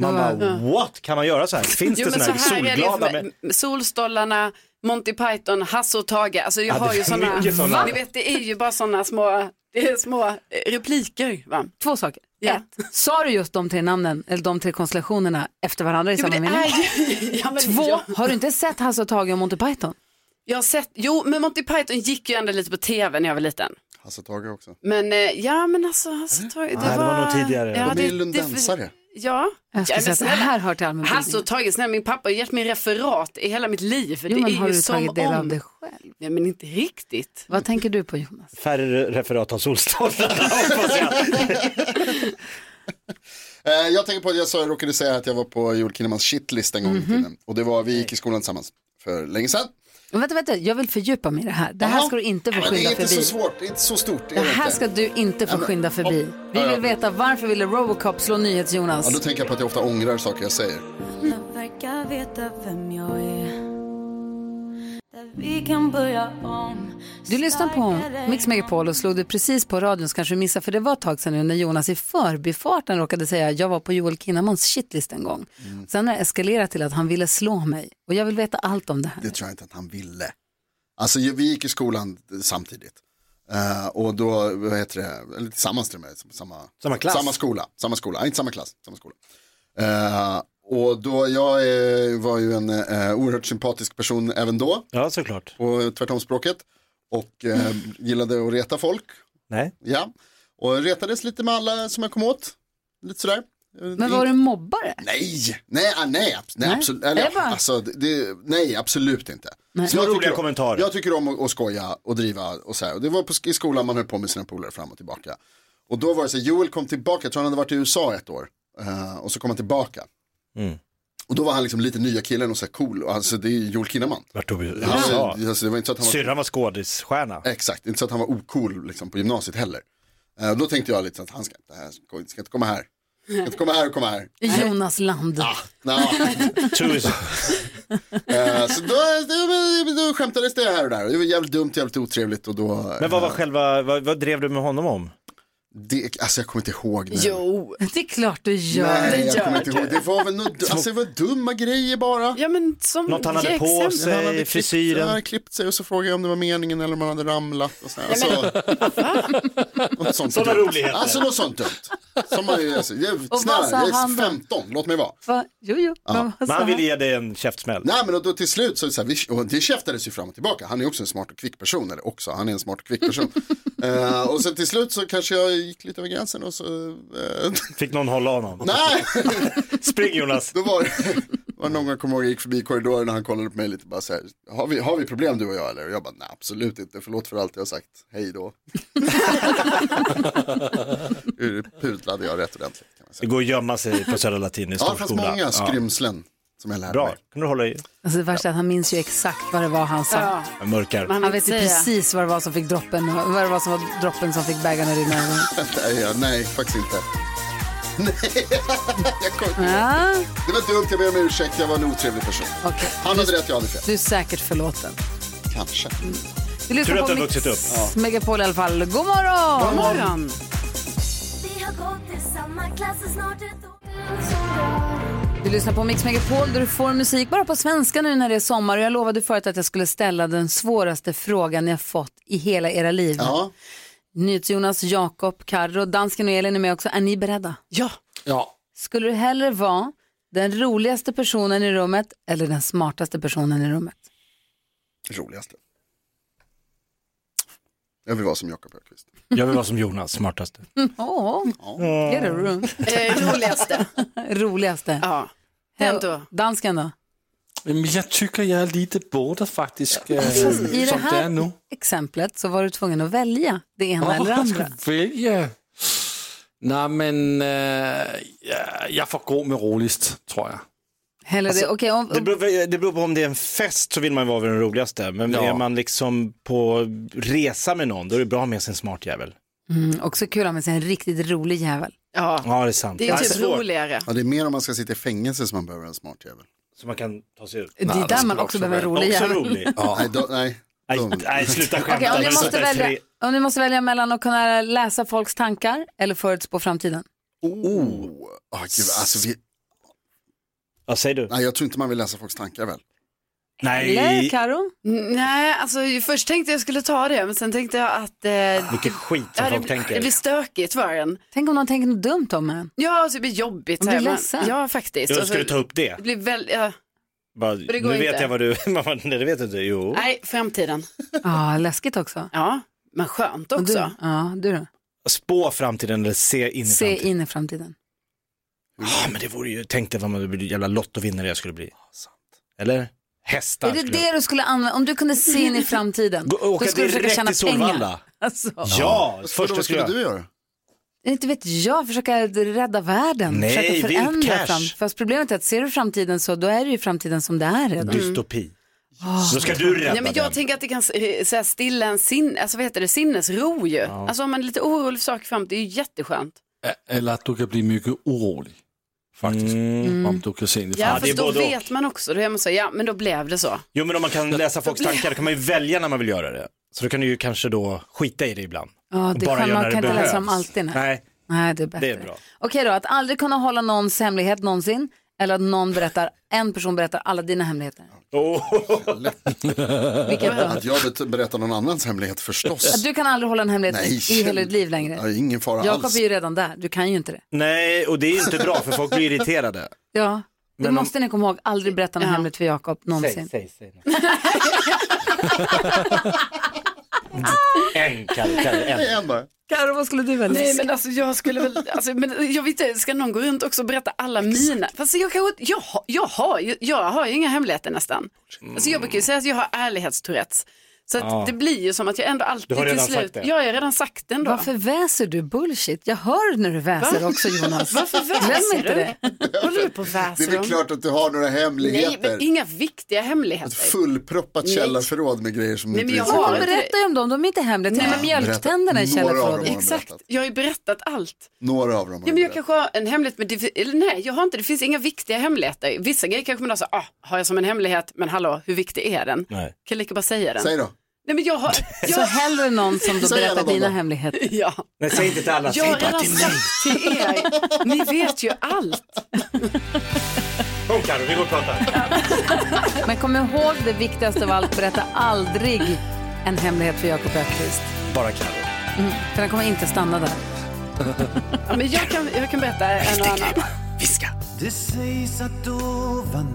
Speaker 3: Man
Speaker 1: Det var-
Speaker 3: bara, what, kan man göra så här? Finns det såna här solglada?
Speaker 4: är
Speaker 3: med...
Speaker 4: det med solstollarna, Monty Python, Hasse och Tage. Alltså jag
Speaker 3: Ja, det
Speaker 4: har ju
Speaker 3: är
Speaker 4: sådana,
Speaker 3: mycket såna.
Speaker 4: ni vet det är ju bara sådana små, det är små eh, repliker. Va?
Speaker 1: Två saker.
Speaker 4: Ja.
Speaker 1: Ett, sa du just de tre namnen, eller de tre konstellationerna efter varandra i
Speaker 4: Jo,
Speaker 1: samma
Speaker 4: men det
Speaker 1: mening?
Speaker 4: är ju- Ja, men
Speaker 1: Två,
Speaker 4: jag-
Speaker 1: har du inte sett Hasse och Tage och Monty Python?
Speaker 4: Jag har sett, jo men Monty Python gick ju ändå lite på tv när jag var liten.
Speaker 2: Hasse Tage också.
Speaker 4: Men eh, ja men alltså, Hasse och Tage, det,
Speaker 2: Nej, det var nog tidigare.
Speaker 4: Ja,
Speaker 2: De är
Speaker 4: det-
Speaker 2: ju lundensare.
Speaker 4: det- Ja.
Speaker 1: Jag skulle
Speaker 4: Ja, men
Speaker 1: säga att det här
Speaker 4: snälla.
Speaker 1: hör till allmänbildningen.
Speaker 4: Hasse och Tage, snälla min pappa har gett mig referat i hela mitt liv.
Speaker 1: Jo, men
Speaker 4: det är
Speaker 1: har
Speaker 4: ju
Speaker 1: du
Speaker 4: som
Speaker 1: tagit del
Speaker 4: om...
Speaker 1: av det
Speaker 4: själv? Nej men inte riktigt.
Speaker 1: Vad tänker du på Jonas?
Speaker 3: Färre referat av solstolarna hoppas jag.
Speaker 2: Eh, jag tänker på att jag sa, jag råkade säga att jag var på Joel Kinnemans shitlist en gång i
Speaker 1: Mhm.
Speaker 2: tiden. Och det var, vi gick i skolan tillsammans för länge sedan.
Speaker 1: Vänta, vänta, jag vill fördjupa mig i det här. Det här
Speaker 2: Jaha.
Speaker 1: ska du inte få
Speaker 2: Men det är
Speaker 1: skynda
Speaker 2: inte
Speaker 1: förbi.
Speaker 2: så svårt, det är inte så stort. är
Speaker 1: Det här
Speaker 2: inte.
Speaker 1: ska du inte få
Speaker 2: Ja, men-
Speaker 1: skynda förbi. Vi
Speaker 2: Ja, ja.
Speaker 1: vill veta varför ville Robocop slå
Speaker 2: Ja, då
Speaker 1: NyhetsJonas?
Speaker 2: tänker jag på att jag ofta ångrar saker jag säger.
Speaker 11: verkar veta vem jag är. Där vi kan börja om.
Speaker 1: Du lyssnar på Mix Megapol och slog du precis på radion så kanske du missade för det var ett tag sedan nu när Jonas i förbifarten råkade säga jag var på Joel Kinnamans shitlist en gång. Sen har det eskalerat till att han ville slå mig och jag vill veta allt om det här.
Speaker 2: Det tror jag inte att han ville. Alltså ju- vi gick i skolan samtidigt. Eh, och då, vad heter det, eller tillsammans till och med, samma,
Speaker 3: Samma klass.
Speaker 2: Samma skola, samma skola, Nej, inte samma klass, samma skola. Eh, och då, jag eh, var ju en eh, oerhört sympatisk person även då.
Speaker 3: Ja, såklart.
Speaker 2: På tvärtomspråket. Och eh, gillade att reta folk.
Speaker 3: Nej.
Speaker 2: Ja. Och retades lite med alla som jag kom åt. Lite sådär.
Speaker 1: Men var du mobbare?
Speaker 2: Nej, nej, ah, nej, abs- nej,
Speaker 1: Nej.
Speaker 2: absolut,
Speaker 1: Det är
Speaker 2: eller,
Speaker 1: bara-
Speaker 2: alltså, det- det, nej, absolut inte.
Speaker 1: Nej.
Speaker 2: Så
Speaker 1: Några
Speaker 2: tycker
Speaker 3: roliga
Speaker 2: om-
Speaker 3: kommentarer.
Speaker 2: Jag tycker om att, att skoja och driva och så här. Och Det var på, sk- i skolan man höll på med sina polare fram och tillbaka. Och då var det så här, Joel kom tillbaka, jag tror han hade varit i USA ett år. Eh, och så kom han tillbaka.
Speaker 3: Mm.
Speaker 2: Och då var han liksom lite nya killen och så här cool, Och alltså det är ju Joel Kinnaman.
Speaker 3: Vart tog vi?
Speaker 2: Ja,
Speaker 3: USA.
Speaker 2: men, alltså, det var inte så att han var-
Speaker 3: Syrran var skådisstjärna.
Speaker 2: Exakt, inte så att han var ocool liksom, på gymnasiet heller. Eh, då tänkte jag lite att han ska, det här ska, ska inte komma här. Ska inte komma här och komma här.
Speaker 1: I Jonas land.
Speaker 2: Nå. Eh, så då, då, då skämtades det här och där. Det var jävligt dumt, jävligt otrevligt och då... eh,
Speaker 3: Men vad var själva, vad, vad drev du med honom om?
Speaker 2: Det, alltså jag kommer inte ihåg nu.
Speaker 4: Jo.
Speaker 1: Det är klart du gör.
Speaker 2: Nej, jag kommer inte ihåg. Det var väl något, alltså det var dumma grejer bara.
Speaker 4: Ja, men som
Speaker 3: Något han hade
Speaker 4: ge
Speaker 3: på
Speaker 4: exempel.
Speaker 3: sig,
Speaker 2: Han hade klippt-
Speaker 3: frisyren.
Speaker 2: Han hade klippt sig och så frågade jag om det var meningen eller om han hade ramlat och så här. Alltså, något sånt
Speaker 3: Sådana
Speaker 2: dumt.
Speaker 3: roligheter.
Speaker 2: Alltså något sånt dumt. Som man ju, alltså, jag,
Speaker 1: vad
Speaker 2: snälla,
Speaker 1: sa
Speaker 2: jag
Speaker 1: han då?
Speaker 2: är 15, låt mig vara.
Speaker 1: Va? Jo, jo.
Speaker 2: Ja.
Speaker 1: Vad sa
Speaker 2: Men han ville
Speaker 3: Ge dig en käftsmäll.
Speaker 2: Nej men och då till slut så, är det så här, vi, och det käftades ju fram och tillbaka. Han är också en smart och kvick person, eller också, han är en smart och kvick person. Eh, och sen till slut så kanske jag gick lite över gränsen och så... eh,
Speaker 3: Fick någon hålla honom?
Speaker 2: Nej!
Speaker 3: Spring Jonas!
Speaker 2: Då var det var någon gång jag kommer ihåg, jag gick förbi korridoren och han kollade på mig lite bara så här, har vi, har vi problem du och jag eller? Och jag bara, nej absolut inte, förlåt för allt jag har sagt, hej då. Ur- Pudlade jag rätt ordentligt. Kan man säga.
Speaker 3: Det går att gömma sig på Södra Latin i
Speaker 2: Ja,
Speaker 3: stor
Speaker 2: det fanns många skrymslen som jag lärde
Speaker 3: Bra,
Speaker 2: mig.
Speaker 3: kan du hålla i?
Speaker 1: Alltså det värsta är att han minns ju exakt vad det var han sa.
Speaker 4: Ja.
Speaker 3: Jag mörkar.
Speaker 1: Han, vet ju precis vad det var som fick droppen, vad det var som var droppen som fick bägaren att rinna över.
Speaker 2: nej, ja, nej, faktiskt inte. Nej, jag kom inte ihåg.
Speaker 1: Ja.
Speaker 2: Det var dumt, jag ber om ursäkt, jag var en otrevlig person. Han hade rätt, jag hade fel.
Speaker 1: Du är säkert förlåten.
Speaker 2: Kanske.
Speaker 1: Vi lyssnar på
Speaker 2: Tur att du har
Speaker 1: Mix
Speaker 2: vuxit upp. Ja.
Speaker 1: Megapol i alla fall. God morgon!
Speaker 2: God morgon!
Speaker 7: Vi har gått i samma klass och snart ett år.
Speaker 1: Du lyssnar på Mix Megapol där du får musik bara på svenska nu när det är sommar. Och jag lovade förut att jag skulle ställa den svåraste frågan jag fått i hela era liv.
Speaker 2: Ja.
Speaker 1: NyhetsJonas, Jakob, Karro, dansken och Elin är med också. Är ni beredda? Ja.
Speaker 9: Ja.
Speaker 1: Skulle du hellre vara den roligaste personen i rummet eller den smartaste personen i rummet?
Speaker 2: Roligaste. Jag vill vara som Jakob Högqvist.
Speaker 3: Jag vill vara som Jonas, smartaste.
Speaker 1: Mm, Åh, get a room.
Speaker 7: Eh,
Speaker 4: roligaste.
Speaker 1: roligaste.
Speaker 4: Eh, Ja.
Speaker 1: Den då. Dansken då?
Speaker 9: Men jag tycker jag är lite båda faktiskt. eh,
Speaker 1: Fast I det
Speaker 9: som det är
Speaker 1: här
Speaker 9: nu.
Speaker 1: exemplet så var du tvungen att välja det ena eller det
Speaker 9: jag
Speaker 1: andra.
Speaker 9: ska välja. Nej men eh, ja, jag får gå med roligst tror jag. Alltså,
Speaker 1: Hellre det. Okej, om,
Speaker 3: Det beror, det beror på om det är en fest så vill man vara den roligaste. Men
Speaker 9: Ja.
Speaker 3: är man liksom på resa med någon då är det bra med sig en smart jävel.
Speaker 1: mm, också kul om man säger en riktigt rolig jävel.
Speaker 4: Ja.
Speaker 3: Ja, det är sant.
Speaker 4: Det är typ roligare.
Speaker 2: Ja, det är mer om man ska sitta i fängelse som man behöver en smart jävel.
Speaker 3: Så man kan ta sig ut.
Speaker 1: Det är Nej, där det man skulle också också behöver vara- rolig
Speaker 3: Också
Speaker 1: jävel.
Speaker 3: rolig.
Speaker 2: Ja. Nej, då, nej.
Speaker 3: Nej, nej, sluta skämta.
Speaker 1: Okej, om,
Speaker 3: Nu
Speaker 1: ni
Speaker 3: är
Speaker 1: måste
Speaker 3: det
Speaker 1: välja,
Speaker 3: fri-
Speaker 1: om ni måste välja mellan att kunna läsa folks tankar eller förutspå framtiden.
Speaker 2: Oh, ah, gud, alltså vi...
Speaker 3: Vad säger du?
Speaker 2: Nej, jag tror inte man vill läsa folks tankar väl?
Speaker 1: Eller Karo?
Speaker 4: Nej, alltså först tänkte jag skulle ta det, men sen tänkte jag att eh,
Speaker 3: Vilken skit som
Speaker 4: ja,
Speaker 3: folk
Speaker 4: det,
Speaker 3: tänker.
Speaker 4: det blir stökigt för en.
Speaker 1: Tänk om någon tänker något dumt om en.
Speaker 4: Ja, alltså, det blir jobbigt.
Speaker 1: Man blir
Speaker 4: här, men-
Speaker 1: ledsen.
Speaker 4: Ja, faktiskt.
Speaker 3: Jag
Speaker 4: Och så-
Speaker 3: skulle ta upp det.
Speaker 4: Det blir väl, ja.
Speaker 3: Bara,
Speaker 4: alltså- det
Speaker 3: nu
Speaker 4: går
Speaker 3: vet
Speaker 4: inte.
Speaker 3: jag vad du... Man bara, Nej, det vet du inte. Jo.
Speaker 4: Nej, framtiden.
Speaker 1: Ja, läskigt också.
Speaker 4: Ja, men skönt
Speaker 1: Och
Speaker 4: också.
Speaker 1: Du, ja, du då?
Speaker 3: Spå framtiden eller se in i
Speaker 1: Se
Speaker 3: framtiden.
Speaker 1: in i framtiden.
Speaker 3: Ja, men det vore ju... Tänk dig vad man blir jävla lottovinnare jag skulle bli. Eller? Hästar.
Speaker 1: Är det
Speaker 3: skulle jag-
Speaker 1: det du skulle använda, om du kunde se in i framtiden,
Speaker 3: Gå- åka
Speaker 1: då skulle du
Speaker 3: direkt
Speaker 1: försöka tjäna
Speaker 3: till Solvalla.
Speaker 1: pengar. Alltså.
Speaker 3: Ja,
Speaker 2: Vad skulle-
Speaker 3: första
Speaker 2: vad skulle
Speaker 3: skulle jag...
Speaker 2: du göra?
Speaker 1: Inte vet jag, försöka rädda världen,
Speaker 3: Nej,
Speaker 1: försöka
Speaker 3: vilt
Speaker 1: förändra
Speaker 3: cash.
Speaker 1: fram. Fast problemet är att ser du framtiden så, då är det ju framtiden som det är redan.
Speaker 3: Dystopi.
Speaker 1: Åh.
Speaker 3: Då ska du rädda
Speaker 4: Ja, men
Speaker 3: den.
Speaker 4: jag tänker att det kan eh, så här, stilla en sin, alltså, vad heter det, sinnesro ju.
Speaker 9: Ja.
Speaker 4: Alltså om man är lite orolig för saker framåt, det är ju jätteskönt.
Speaker 9: Eller att du kan bli mycket orolig faktiskt.
Speaker 3: Mm.
Speaker 9: Om du kan se in i
Speaker 4: Ja,
Speaker 9: framtiden.
Speaker 4: fast då vet man också, då är man så här, ja men då blev det så.
Speaker 3: Jo men om man kan läsa folks tankar, då kan man ju välja när man vill göra det. Så då kan du ju kanske då skita i det ibland.
Speaker 1: Ja,
Speaker 3: Och
Speaker 1: det
Speaker 3: bara
Speaker 1: kan
Speaker 3: göra
Speaker 1: man
Speaker 3: när
Speaker 1: kan
Speaker 3: det
Speaker 1: inte läsa om
Speaker 3: behövs.
Speaker 1: alltid. Nej.
Speaker 3: Nej,
Speaker 1: Nej, det är bättre.
Speaker 3: det är bra.
Speaker 1: Okej då, att aldrig kunna hålla någons hemlighet någonsin eller att någon berättar, en person berättar alla dina hemligheter. Vilket då?
Speaker 2: Att jag bet- berättar någon annans hemlighet
Speaker 1: Att
Speaker 2: förstås.
Speaker 1: du kan aldrig hålla en hemlighet
Speaker 2: Nej.
Speaker 1: i hela ditt liv längre.
Speaker 2: Ja, ingen fara
Speaker 1: Jakob
Speaker 2: alls.
Speaker 1: är ju redan där, du kan ju inte det.
Speaker 3: Nej, och det är ju inte bra för folk blir irriterade.
Speaker 1: Ja, det
Speaker 3: Men om-
Speaker 1: måste ni komma ihåg, aldrig berätta något hemligt för Jakob någonsin.
Speaker 3: Säg, säg, En kalkare, en.
Speaker 1: Karo, vad skulle du välja?
Speaker 4: Nej men alltså jag skulle väl, alltså, men jag vet inte, ska någon gå runt också och berätta alla mina? Fast jag, kan, jag, har- jag, har, ju- jag har ju inga hemligheter nästan. Alltså jag brukar ju säga att jag har ärlighetstourettes. Så att
Speaker 1: Mm. Ja.
Speaker 4: det blir ju som att jag ändå alltid
Speaker 1: Du har
Speaker 4: till
Speaker 1: redan
Speaker 4: slut,
Speaker 1: sagt det.
Speaker 4: Ja, jag har redan sagt det ändå.
Speaker 1: Varför väser du bullshit? Jag hör när du väser
Speaker 4: Va?
Speaker 1: också Jonas.
Speaker 4: Varför väser
Speaker 1: Glöm inte
Speaker 4: du?
Speaker 1: det.
Speaker 4: Håller du på och väser
Speaker 2: Det är väl
Speaker 4: om?
Speaker 2: klart att du har några
Speaker 4: Alltså- Nej,
Speaker 2: hemligheter.
Speaker 4: men inga viktiga hemligheter.
Speaker 2: Fullproppat
Speaker 4: Nej.
Speaker 2: källarförråd med grejer som
Speaker 4: Nej,
Speaker 2: inte
Speaker 4: men jag
Speaker 2: visste.
Speaker 4: har-
Speaker 1: Jag berättar ju om dem, de är inte hemligheter.
Speaker 4: Nej.
Speaker 1: Nej. Mjölktänderna i
Speaker 2: Berätta. Några av dem
Speaker 1: källarförrådet.
Speaker 2: har de berättat.
Speaker 4: Exakt, jag har ju berättat allt.
Speaker 2: Några av dem.
Speaker 4: Ja, men jag kanske har en hemlighet, men det, eller nej, jag har inte, det finns inga viktiga hemligheter. Vissa grejer kanske man har så, ah, har jag som en hemlighet, men hallå, hur viktig är den?
Speaker 3: Nej.
Speaker 4: Kan jag lika bara säga den?
Speaker 3: Säg
Speaker 2: då.
Speaker 4: Nej, men jag har, jag,
Speaker 1: Så hellre någon som då
Speaker 4: Säg alla
Speaker 1: berättar
Speaker 4: dem
Speaker 1: dina
Speaker 4: då.
Speaker 1: hemligheter.
Speaker 4: Ja.
Speaker 3: Nej, säg inte till alla,
Speaker 4: jag
Speaker 3: säg
Speaker 4: har
Speaker 3: bara
Speaker 4: redan
Speaker 3: till mig.
Speaker 4: sagt till er, ni vet ju allt.
Speaker 3: Kom Carro, vi går och pratar.
Speaker 1: Men kom ihåg det viktigaste av allt, berätta aldrig en hemlighet för Jakob Öqvist.
Speaker 3: Bara Carro.
Speaker 1: Mm. För den kommer inte stanna där.
Speaker 4: Ja, men jag, kan, jag kan berätta en och annan.
Speaker 3: Viska.
Speaker 12: Det sägs att ovan